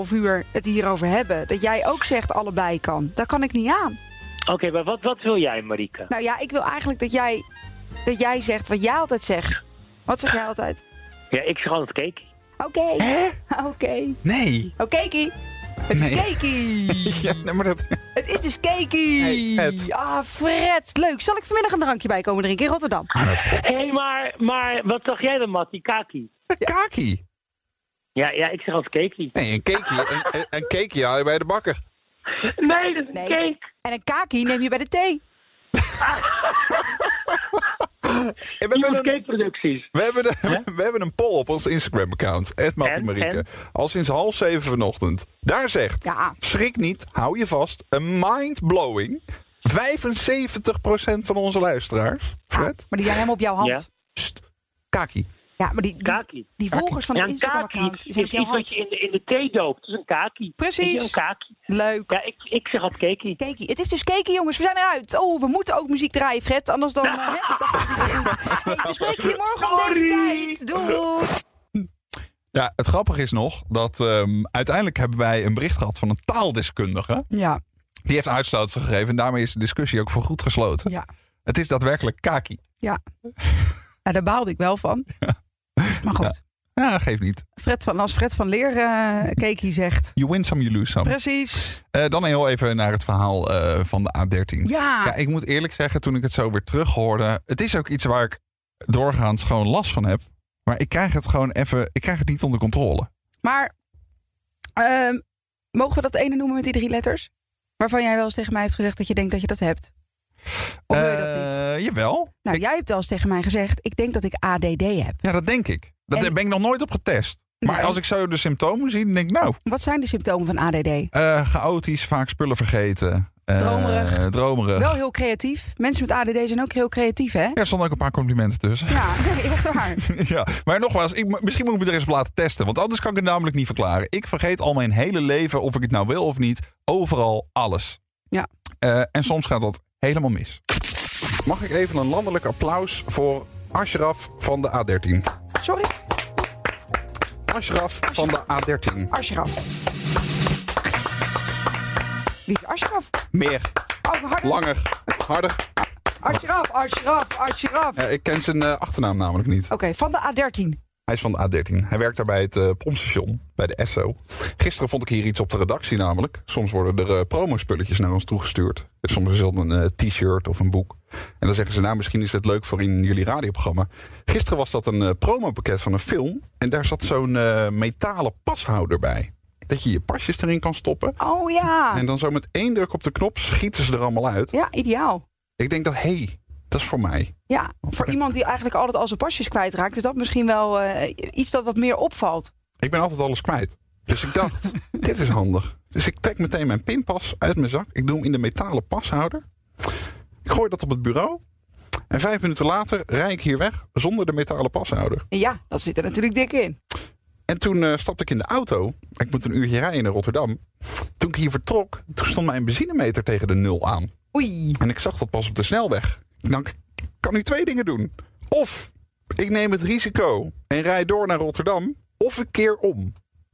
2,5 uur het hierover hebben. Dat jij ook zegt allebei kan. Daar kan ik niet aan.
Oké, maar wat, wat wil jij, Marike?
Nou ja, ik wil eigenlijk dat jij, dat jij zegt wat jij altijd zegt. Wat zeg jij altijd?
Ja, ik zeg altijd cakey.
Oké, oké,
Nee.
oké. Kie. Het
Nee.
is Kekie.
Ja, nee, maar dat...
Het is dus Kekie.
Hey, Fred.
Ah, Fred. Leuk. Zal ik vanmiddag een drankje bij komen drinken in Rotterdam?
Hé, hey, maar, maar wat dacht jij dan, Mattie? Kaki?
Kaki.
Ja, ja, ik zeg altijd cakey.
Nee, een cakeje. Een, een- een cakeje haal je bij de bakker.
Nee, dat is
Nee.
cake.
En een kaki neem je bij de thee.
En we,
Iemand
hebben
cake
een,
cakeproducties.
we, hebben een, we hebben een poll op ons Instagram-account. Het Mattie
En?
Marieke.
En?
Al sinds half zeven vanochtend. Daar zegt,
Ja.
schrik niet, hou je vast. Een mind-blowing. 75% van onze luisteraars. Fred?
Maar die zijn helemaal op jouw hand.
Ja.
Pst, Kaki.
Ja, maar die, die,
Kaki.
die volgers van
Ja,
het
een kaki
Instagram-account
is
zijn op
iets
jouw
wat
hand.
je in de, in de thee doopt. Dat is een kaki.
Precies.
Weet je, Een kaki.
Leuk.
Ja, ik, ik zeg altijd cakey.
Kekie. Het is dus Kekie, jongens. We zijn eruit. Oh, we moeten ook muziek draaien, Fred. Anders dan... eh, hè, dat gaat niet goed. Hey, we spreken je morgen om deze
Sorry.
tijd. Doei.
Ja, het grappige is nog dat ehm, uiteindelijk hebben wij een bericht gehad van een taaldeskundige.
Ja,
Die heeft uitstootsen gegeven en daarmee is de discussie ook voor goed gesloten.
ja.
Het is daadwerkelijk kaki.
ja, nou, daar baalde ik wel van. Maar goed.
Ja, geeft niet.
Fred van, als Fred van Leer eh Kekie zegt...
You win some, you lose some.
Precies.
Eh, dan heel even naar het verhaal eh, van de A13. Ja,
Ja.
ik moet eerlijk zeggen, toen ik het zo weer terughoorde... Het is ook iets waar ik doorgaans gewoon last van heb. Maar ik krijg het gewoon even... Ik krijg het niet onder controle.
Maar ehm, mogen we dat ene noemen met die drie letters? Waarvan jij wel eens tegen mij hebt gezegd dat je denkt dat je dat hebt. Of wil je dat niet?
Eh, Jawel.
Nou,
ik-
jij hebt wel eens tegen mij gezegd, ik denk dat ik ADD heb.
Ja, dat denk ik. Dat
En-
ben ik nog nooit op getest. Maar
Nee.
als ik zo de symptomen zie, dan denk ik... Nou,
Wat zijn de symptomen van ADD?
eh, chaotisch, vaak spullen vergeten. eh,
Dromerig.
dromerig.
Wel heel creatief. Mensen met ADD zijn ook heel creatief, hè?
Ja, er stonden ook een paar complimenten tussen.
Ja, nee, echt waar.
Ja, maar nogmaals, ik, misschien moet ik me er eens op laten testen. Want anders kan ik het namelijk niet verklaren. Ik vergeet al mijn hele leven, of ik het nou wil of niet, overal alles.
Ja.
Eh, en soms gaat dat helemaal mis. Mag ik even een landelijk applaus voor Ashraf van de A13?
Sorry,
Ashraf van de A13.
Ashraf. Lieve Ashraf.
Meer,
Oh, harder.
langer, harder.
Ashraf, Ashraf, Ashraf.
Ja, ik ken zijn eh, achternaam namelijk niet.
Oké, van de A13.
Hij is van de A13. Hij werkt daar bij het eh, pompstation, bij de Esso. Gisteren vond ik hier iets op de redactie namelijk. Soms worden er eh, promospulletjes naar ons toegestuurd. Soms is dat een eh, t-shirt of een boek. En dan zeggen ze, nou, misschien is het leuk voor in jullie radioprogramma. Gisteren was dat een eh, promopakket van een film. En daar zat zo'n eh, metalen pashouder bij. Dat je je pasjes erin kan stoppen.
Oh ja.
En dan zo met één druk op de knop schieten ze er allemaal uit.
Ja, ideaal.
Ik denk dat, hé, hey, dat is voor mij.
Ja, voor iemand die eigenlijk altijd al zijn pasjes kwijtraakt, is dat misschien wel eh, iets dat wat meer opvalt.
Ik ben altijd alles kwijt. Dus ik dacht, dit is handig. Dus ik trek meteen mijn pinpas uit mijn zak. Ik doe hem in de metalen pashouder. Ik gooi dat op het bureau. En vijf minuten later rijd ik hier weg zonder de metalen pashouder.
Ja, dat zit er natuurlijk dik in.
En toen eh, stapte ik in de auto. Ik moet een uurtje rijden naar Rotterdam. Toen ik hier vertrok, toen stond mijn benzinemeter tegen de nul aan.
Oei.
En ik zag dat pas op de snelweg. Ik dacht, ik kan nu twee dingen doen. Of ik neem het risico en rijd door naar Rotterdam. Of ik keer om.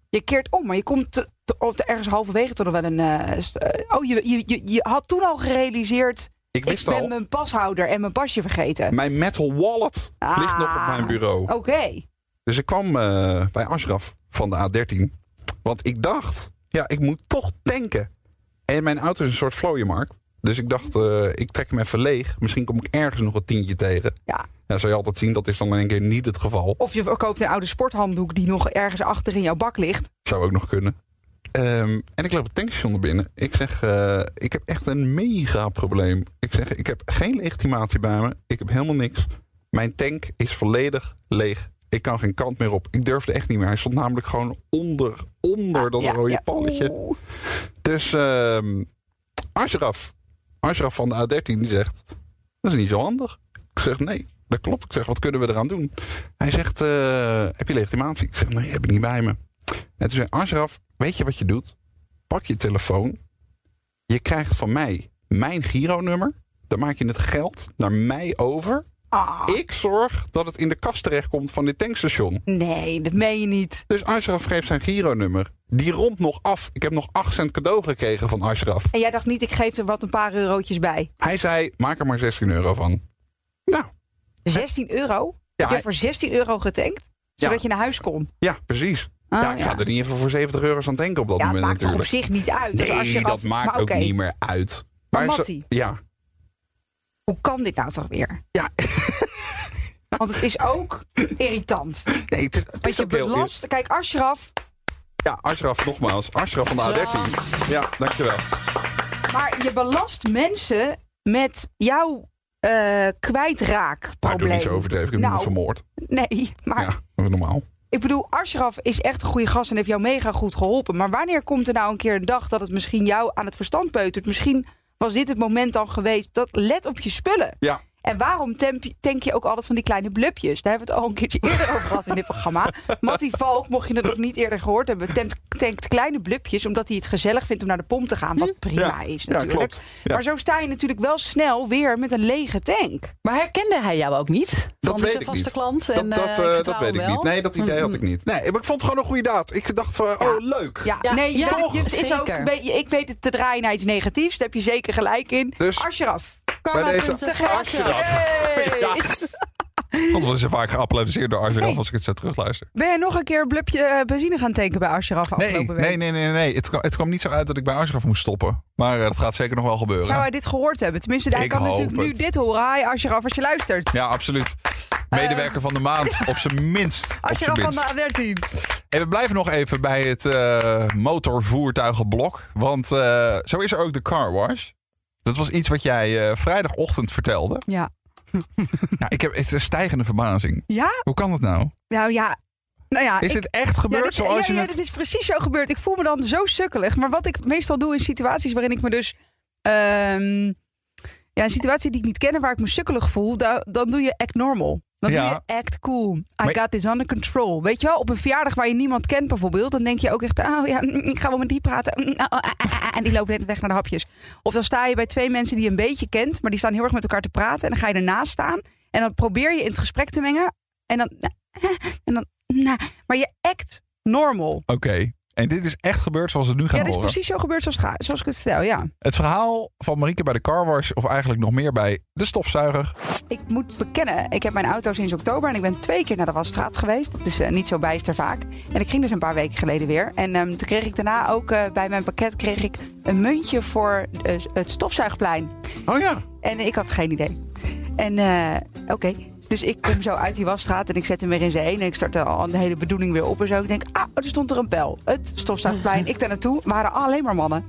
Je keert om, maar je komt te- te- of te- ergens halverwege toch nog wel een. eh, st- eh, oh, je, je, je, je had toen al gerealiseerd.
Ik
Ik
wist
ben
al,
mijn pashouder en mijn pasje vergeten.
mijn metal wallet ligt
Ah.
nog op mijn bureau.
Oké.
Dus ik kwam eh, bij Ashraf van de A13. Want ik dacht, ja, ik moet toch tanken. En mijn auto is een soort vlooienmarkt. Dus ik dacht, eh, ik trek hem even leeg. Misschien kom ik ergens nog een tientje tegen.
Ja.
Ja, zou je altijd zien, dat is dan in één keer niet het geval.
Of je koopt een oude sporthanddoek die nog ergens achter in jouw bak ligt.
Zou ook nog kunnen. Ehm, en ik loop het tankstation naar binnen. Ik zeg, eh, ik heb echt een mega probleem. Ik zeg, ik heb geen legitimatie bij me. Ik heb helemaal niks. Mijn tank is volledig leeg. Ik kan geen kant meer op. Ik durfde echt niet meer. Hij stond namelijk gewoon onder, onder dat
Ah, Ja,
rode
ja.
palletje.
Oeh.
Dus ehm Ashraf, Ashraf van de A13, die zegt, dat is niet zo handig. Ik zeg, nee, dat klopt. Ik zeg, wat kunnen we eraan doen? Hij zegt, eh, heb je legitimatie? Ik zeg, nee, heb ik niet bij me. En toen zei Ashraf, weet je wat je doet? Pak je telefoon. Je krijgt van mij mijn Giro-nummer. Dan maak je het geld naar mij over.
Ah,
Ik zorg dat het in de kast terechtkomt van dit tankstation.
nee, dat meen je niet.
Dus Ashraf geeft zijn Giro-nummer. Die rond nog af. Ik heb nog 8 cent cadeau gekregen van Ashraf.
En jij dacht niet, ik geef er wat een paar eurotjes bij.
Hij zei, maak er maar 16 euro van. Nou,
16 euro?
ja,
ik heb voor 16 euro getankt, zodat je naar huis kon.
ja precies.
Ah,
ja, ik ga er niet even voor 70 euro aan tanken op dat
Ja, het
moment
maakt toch op
natuurlijk. Dus
zich niet uit.
Nee,
Want als je
dat
af-
maakt
maar
ook
oké,
niet meer uit.
Maar
zo-
Mattie?
ja,
Hoe kan dit nou toch weer?
Ja.
Want het is ook irritant.
nee, het, is- het
Want
is
je
ook heel...
belast... Kijk, Ashraf,
Ja, Ashraf nogmaals. Ashraf van de A13. Ja, dankjewel.
Maar je belast mensen met jouw eh
Nou, doe
kwijtraakprobleem.
niet zo overdreven. Ik heb
Nou.
iemand vermoord.
Nee, maar
Ja, dat is normaal.
ik bedoel, Ashraf is echt een goede gast en heeft jou mega goed geholpen. Maar wanneer komt er nou een keer een dag dat het misschien jou aan het verstand peutert? Misschien was dit het moment dan geweest. Dat let op je spullen.
Ja.
En waarom temp- tank je ook altijd van die kleine blubjes? Daar hebben we het al een keertje eerder over gehad in dit programma. Mattie Valk, mocht je dat nog niet eerder gehoord hebben, tempt- tankt kleine blubjes omdat hij het gezellig vindt om naar de pomp te gaan. Wat prima
Hm? Ja,
is
ja,
natuurlijk.
klopt. Ja.
Maar zo sta je natuurlijk wel snel weer met een lege tank.
Maar herkende hij jou ook niet?
Dat
Van
weet
deze
ik
vaste
niet.
klant.
Dat,
En,
dat,
eh, ik
eh, dat
vertrouw
weet ik
hem
niet.
wel. Hm.
Nee, dat idee
Mm-hmm.
had ik niet. Nee, maar ik vond het gewoon een goede daad. Ik dacht, van, oh, leuk.
Ja,
Ja,
nee,
ja,
dat-
toch?
het is ook,
Zeker.
een beetje- ik weet het te draaien naar iets negatiefs. Daar heb je zeker gelijk in.
Dus-
Ashraf.
Bij deze
punten voor
Ashraf.
Hey!
Want we zijn vaak geapplaudiseerd door Ashraf als ik het zo terugluister.
Ben je nog een keer een blubje eh, benzine gaan tanken bij Ashraf
Nee,
afgelopen week?
nee, nee, nee. nee. Het, kwam, het kwam niet zo uit dat ik bij Ashraf moest stoppen. Maar eh, dat gaat zeker nog wel gebeuren.
Zou hij dit gehoord hebben? Tenminste, hij
Ik
kan
hoop
natuurlijk nu
het.
dit horen. Hi Ashraf, als je luistert.
Ja, absoluut. Medewerker van de maand, op zijn minst. Op zijn
Ashraf van
minst.
de A13.
Hey, we blijven nog even bij het eh, motorvoertuigenblok. Want eh, zo is er ook de car wash. Dat was iets wat jij eh, vrijdagochtend vertelde.
Ja.
Nou, ik heb echt een stijgende verbazing.
Ja?
Hoe kan dat nou?
Nou ja. Nou ja,
Is
ik-
dit echt gebeurd
ja, dit, ja,
zoals je
ja,
het...
dit is precies zo gebeurd. Ik voel me dan zo sukkelig. Maar wat ik meestal doe in situaties waarin ik me dus... ehm, ja, een situatie die ik niet ken en waar ik me sukkelig voel... da- dan doe je act normal. Dan doe
Ja.
je act cool. I
Maar-
got this under control. Weet je wel, op een verjaardag waar je niemand kent bijvoorbeeld... dan denk je ook echt, oh ja, mm, ik ga wel met die praten. Mm, oh, ah, ah, ah, ah, en die loopt net weg naar de hapjes. Of dan sta je bij twee mensen die je een beetje kent... maar die staan heel erg met elkaar te praten. En dan ga je ernaast staan. En dan probeer je in het gesprek te mengen. En dan... En dan nou, maar je act normal.
Oké. En dit is echt gebeurd zoals het nu
Ja,
gaat
dat is
horen.
precies zo gebeurd zoals, het ga- zoals ik het vertel, ja.
Het verhaal van Marieke bij de car wash, of eigenlijk nog meer bij de stofzuiger.
Ik moet bekennen, ik heb mijn auto sinds oktober en ik ben twee keer naar de wasstraat geweest. Dat is eh, niet zo bijster vaak. En ik ging dus een paar weken geleden weer. En ehm, toen kreeg ik daarna ook eh, bij mijn pakket kreeg ik een muntje voor eh, het stofzuigplein.
Oh ja.
En ik had geen idee. En eh, oké. Dus ik kom zo uit die wasstraat en ik zet hem weer in zijn een. En ik start al de hele bedoeling weer op en zo. Ik denk, ah, er stond er een pijl. Het stofzuigplein. Ik daar naartoe. Waren alleen maar mannen.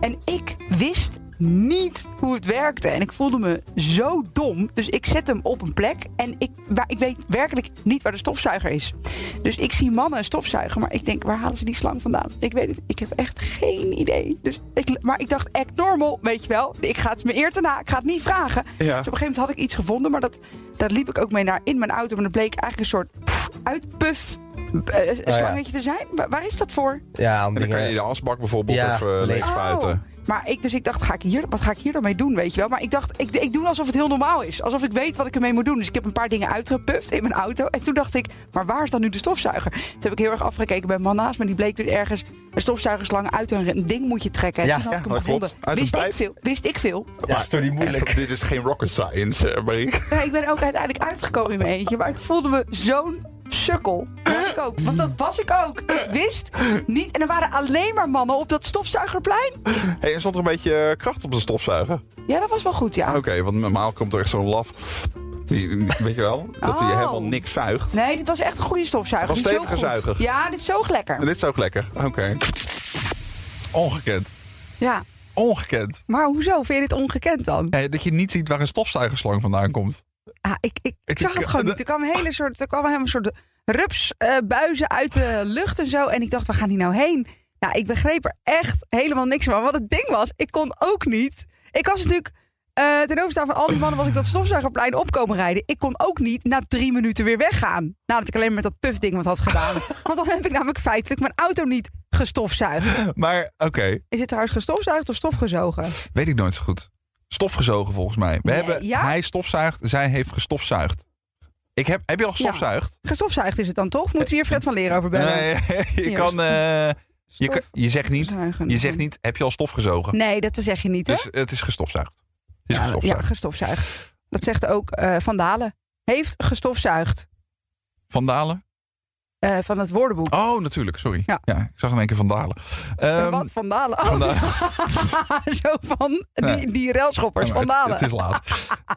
En ik wist niet hoe het werkte. En ik voelde me zo dom. Dus ik zet hem op een plek. En ik, waar, ik weet werkelijk niet waar de stofzuiger is. Dus ik zie mannen een stofzuiger. Maar ik denk, waar halen ze die slang vandaan? Ik weet het. Ik heb echt geen idee. Dus ik, maar ik dacht, act normal, weet je wel. Ik ga het me eer te na. Ik ga het niet vragen. Dus op een gegeven moment had ik iets gevonden, maar dat, daar liep ik ook mee naar in mijn auto. Maar dat bleek eigenlijk een soort pff, uitpuf eh, slangetje te zijn. Wa- waar is dat voor?
Ja, om
En dan kan je
dingen...
de asbak bijvoorbeeld
Ja,
of eh,
leeg.
Oh.
leegspuiten.
Maar ik, dus ik dacht, ga ik hier, wat ga ik hier dan mee doen, weet je wel? Maar ik dacht, ik, ik doe alsof het heel normaal is. Alsof ik weet wat ik ermee moet doen. Dus ik heb een paar dingen uitgepuft in mijn auto. En toen dacht ik, maar waar is dan nu de stofzuiger? Toen heb ik heel erg afgekeken bij een man naast me. Die bleek dus ergens een stofzuigerslang uit een ding moet je trekken. En
Ja,
toen had ik hem
dat
gevonden.
klopt. Uit een
wist, ik
pijp.
veel, wist ik veel.
Ja, is toch niet moeilijk.
Echt, dit is geen rocket science, eh, Marieke.
Ja, ik ben ook uiteindelijk uitgekomen in mijn eentje. Maar ik voelde me zo'n sukkel. Dat was ik ook. Want dat was ik ook. Ik wist niet. En er waren alleen maar mannen op dat stofzuigerplein.
Hey, er stond er een beetje eh, kracht op de stofzuiger.
Ja, dat was wel goed, ja.
Oké, want normaal komt er echt zo'n laf. Die, weet je wel? Dat hij
Oh.
helemaal niks zuigt.
Nee, dit was echt een goede stofzuiger.
Was
Niet zo
stevige
goed.
zuiger.
Ja, dit is zo lekker.
Dit is ook lekker. Oké. Ongekend.
Ja,
Ongekend.
maar hoezo? Vind je dit ongekend dan?
Nee, dat je niet ziet waar een stofzuigerslang vandaan komt.
Ah, ik, ik, ik
Ik-
zag het
ik-
gewoon
de-
niet. Er kwam een hele soort, er kwam een soort rupsbuizen uit de lucht en zo. En ik dacht, waar gaan die nou heen? Nou, ik begreep er echt helemaal niks van. Wat het ding was, ik kon ook niet. Ik was natuurlijk eh, ten overstaan van al die mannen was ik dat stofzuigerplein opkomen rijden. Ik kon ook niet na drie minuten weer weggaan. Nadat ik alleen met dat pufding wat had gedaan. Want dan heb ik namelijk feitelijk mijn auto niet gestofzuigd.
Maar oké,
Is het trouwens gestofzuigd of stofgezogen?
weet ik nooit zo goed. Stofgezogen volgens mij. We
Nee,
hebben,
ja?
Hij stofzuigt, zij heeft gestofzuigd. Ik heb, heb je al gestofzuigd?
Gestofzuigd is het dan toch? Moeten we hier Fred van Leer over bellen?
Nee, je,
Hier,
kan, eh, je, kan- je zegt niet,
Stofzuigen.
je zegt niet, heb je al stofgezogen?
Nee, dat zeg je niet, hè?
Dus het is gestofzuigd. Het is
Ja,
gestofzuigd.
Ja, gestofzuigd. Dat zegt ook eh Van Dalen. Heeft gestofzuigd
Van Dalen?
eh, van het woordenboek.
Oh, natuurlijk, sorry. Ja.
Ja.
ik zag in één keer Van Dalen.
En
Ehm,
wat Van Dalen? Oh,
Van Dalen.
zo van
Nee.
die, die railschoppers.
Nou,
Van
het-
Dalen.
Het, is laat.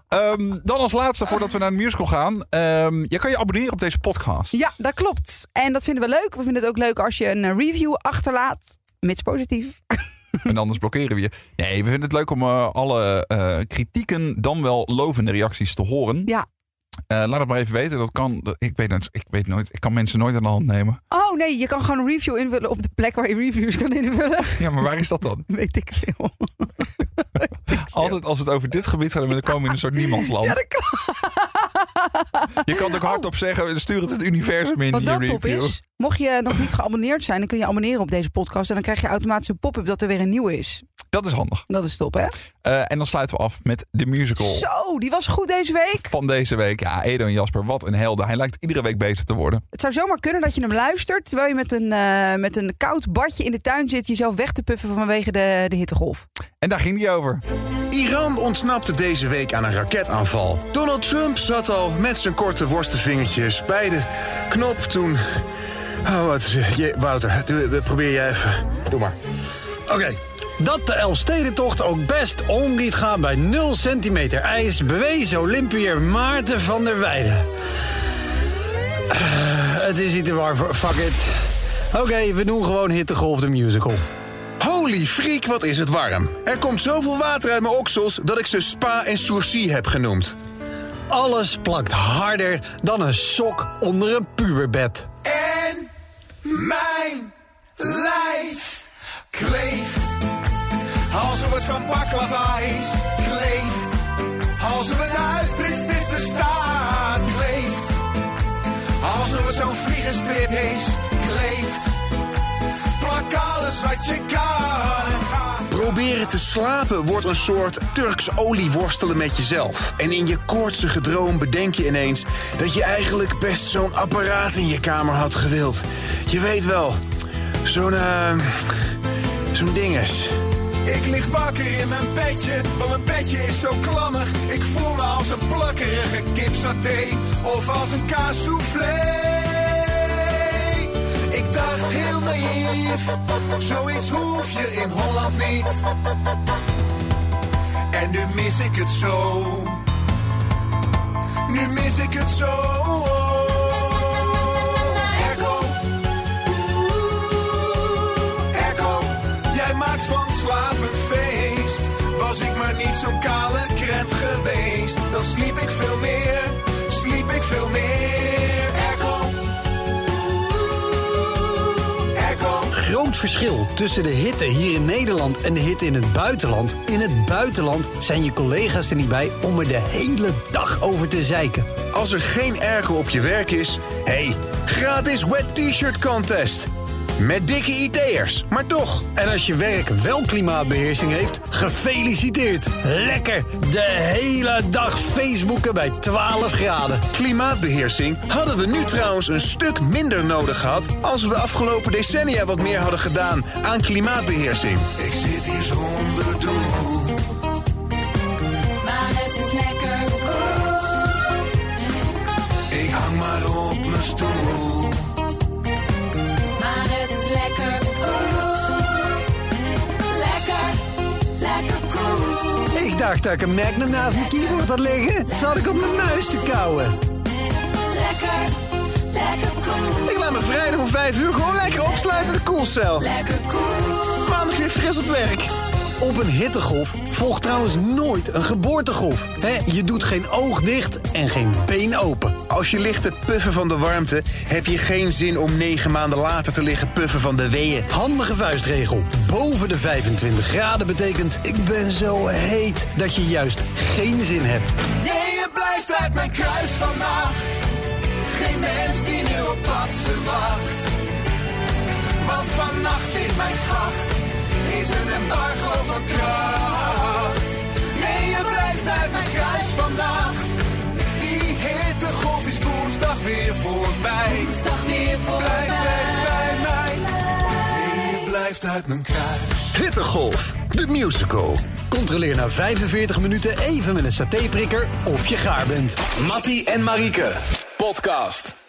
Ehm, dan als laatste, voordat we naar de musical gaan. ehm, je kan je abonneren op deze podcast.
Ja, dat klopt. En dat vinden we leuk. We vinden het ook leuk als je een eh, review achterlaat. Mits positief.
En anders blokkeren we je. Nee, we vinden het leuk om eh, alle eh, kritieken, dan wel lovende reacties te horen.
Ja.
Eh, laat het maar even weten. Dat kan. dat- Ik weet, het- ik weet nooit. Ik kan mensen nooit aan de hand nemen.
Oh nee, je kan gewoon een review invullen op de plek waar je reviews kan invullen.
Ja, maar waar is dat dan?
Weet ik veel.
Altijd als we het over dit gebied gaan, dan komen we in een soort niemandsland.
Ja, dat klopt.
Je kan het ook hardop zeggen. Stuur het het universum in.
Wat
je
wel
review.
top is, mocht je nog niet geabonneerd zijn, dan kun je abonneren op deze podcast. En dan krijg je automatisch een pop-up dat er weer een nieuwe is.
Dat is handig.
Dat is top, hè?
Eh, en dan sluiten we af met de musical.
Zo, die was goed deze week.
van deze week. Ja, Edo en Jasper, wat een helden. Hij lijkt iedere week beter te worden.
Het zou zomaar kunnen dat je hem luistert terwijl je met een, eh, met een koud badje in de tuin zit, jezelf weg te puffen vanwege de, de hittegolf.
En daar ging hij over.
Iran ontsnapte deze week aan een raketaanval. Donald Trump zat al met zijn korte worstenvingertjes bij de knop toen... Oh, wat, je, Wouter, doe- doe- probeer jij even. Doe maar.
Oké. Dat de Elfstedentocht ook best om liet gaan bij 0 centimeter ijs... bewees Olympiër Maarten van der Weijden. Eh, het is niet te warm voor... Fuck it. Oké, we doen gewoon Hittegolf de musical.
Holy freak, wat is het warm. Er komt zoveel water uit mijn oksels dat ik ze spa en sourcy heb genoemd.
Alles plakt harder dan een sok onder een puberbed.
En mijn lijf kleeft. Alsof het van baklava is, kleeft. Alsof het uit printstift bestaat, kleeft. Alsof het zo'n vliegenstrip is, kleeft. Plak alles wat je kan. Proberen te slapen wordt een soort Turks olie worstelen met jezelf. En in je koortsige droom bedenk je ineens dat je eigenlijk best zo'n apparaat in je kamer had gewild. Je weet wel,
Zo'n, eh, zo'n dinges.
Ik lig wakker in mijn bedje, want mijn bedje is zo klammig. Ik voel me als een plakkerige kipsaté of als een kaassoufflé. Ik dacht heel naïef, zoiets hoef je in Holland niet. En nu mis ik het zo. Nu mis ik het zo. Ergo, Ergo, jij maakt van slaap een feest. Was ik maar niet zo'n kale kret geweest, dan sliep ik veel meer, sliep ik veel meer. Ergo, Ergo.
Groot verschil tussen de hitte hier in Nederland en de hitte in het buitenland. In het buitenland zijn je collega's er niet bij om er de hele dag over te zeiken.
Als er geen airco op je werk is, hey, gratis wet t-shirt contest. Met dikke IT'ers, maar toch.
En als je werk wel klimaatbeheersing heeft, gefeliciteerd. Lekker de hele dag Facebooken bij 12 graden.
Klimaatbeheersing hadden we nu trouwens een stuk minder nodig gehad als we de afgelopen decennia wat meer hadden gedaan aan klimaatbeheersing. Ik zit hier zonder doel.
Maar het is lekker koel.
Ik hang maar op mijn stoel.
Maar het is lekker koel. Lekker, lekker koel.
Ik dacht dat ik een Magnum naast mijn keyboard had liggen. Zat ik op mijn muis te kauwen.
Lekker, lekker koel.
Ik laat me vrijdag om 5 uur gewoon lekker opsluiten in de koelcel.
Lekker koel.
Maandag weer fris op werk.
Op een hittegolf volgt trouwens nooit een geboortegolf. Hè, je doet geen oog dicht en geen been open.
Als je ligt te puffen van de warmte, heb je geen zin om 9 maanden later te liggen puffen van de weeën.
Handige vuistregel. Boven de 25 graden betekent... ik ben zo heet dat je juist geen zin hebt.
Nee, je blijft uit mijn kruis vannacht. Geen mens die nu op wat ze wacht. Want vannacht in mijn schacht is een embargo van kracht. Nee, je blijft uit mijn kruis vannacht. Die hittegolf is woensdag weer voorbij.
Woensdag weer
Blijf weg
voorbij.
bij mij. Nee, je blijft uit mijn kruis.
Hittegolf, de musical. Controleer na 45 minuten even met een satéprikker of je gaar bent.
Mattie en Marieke, podcast.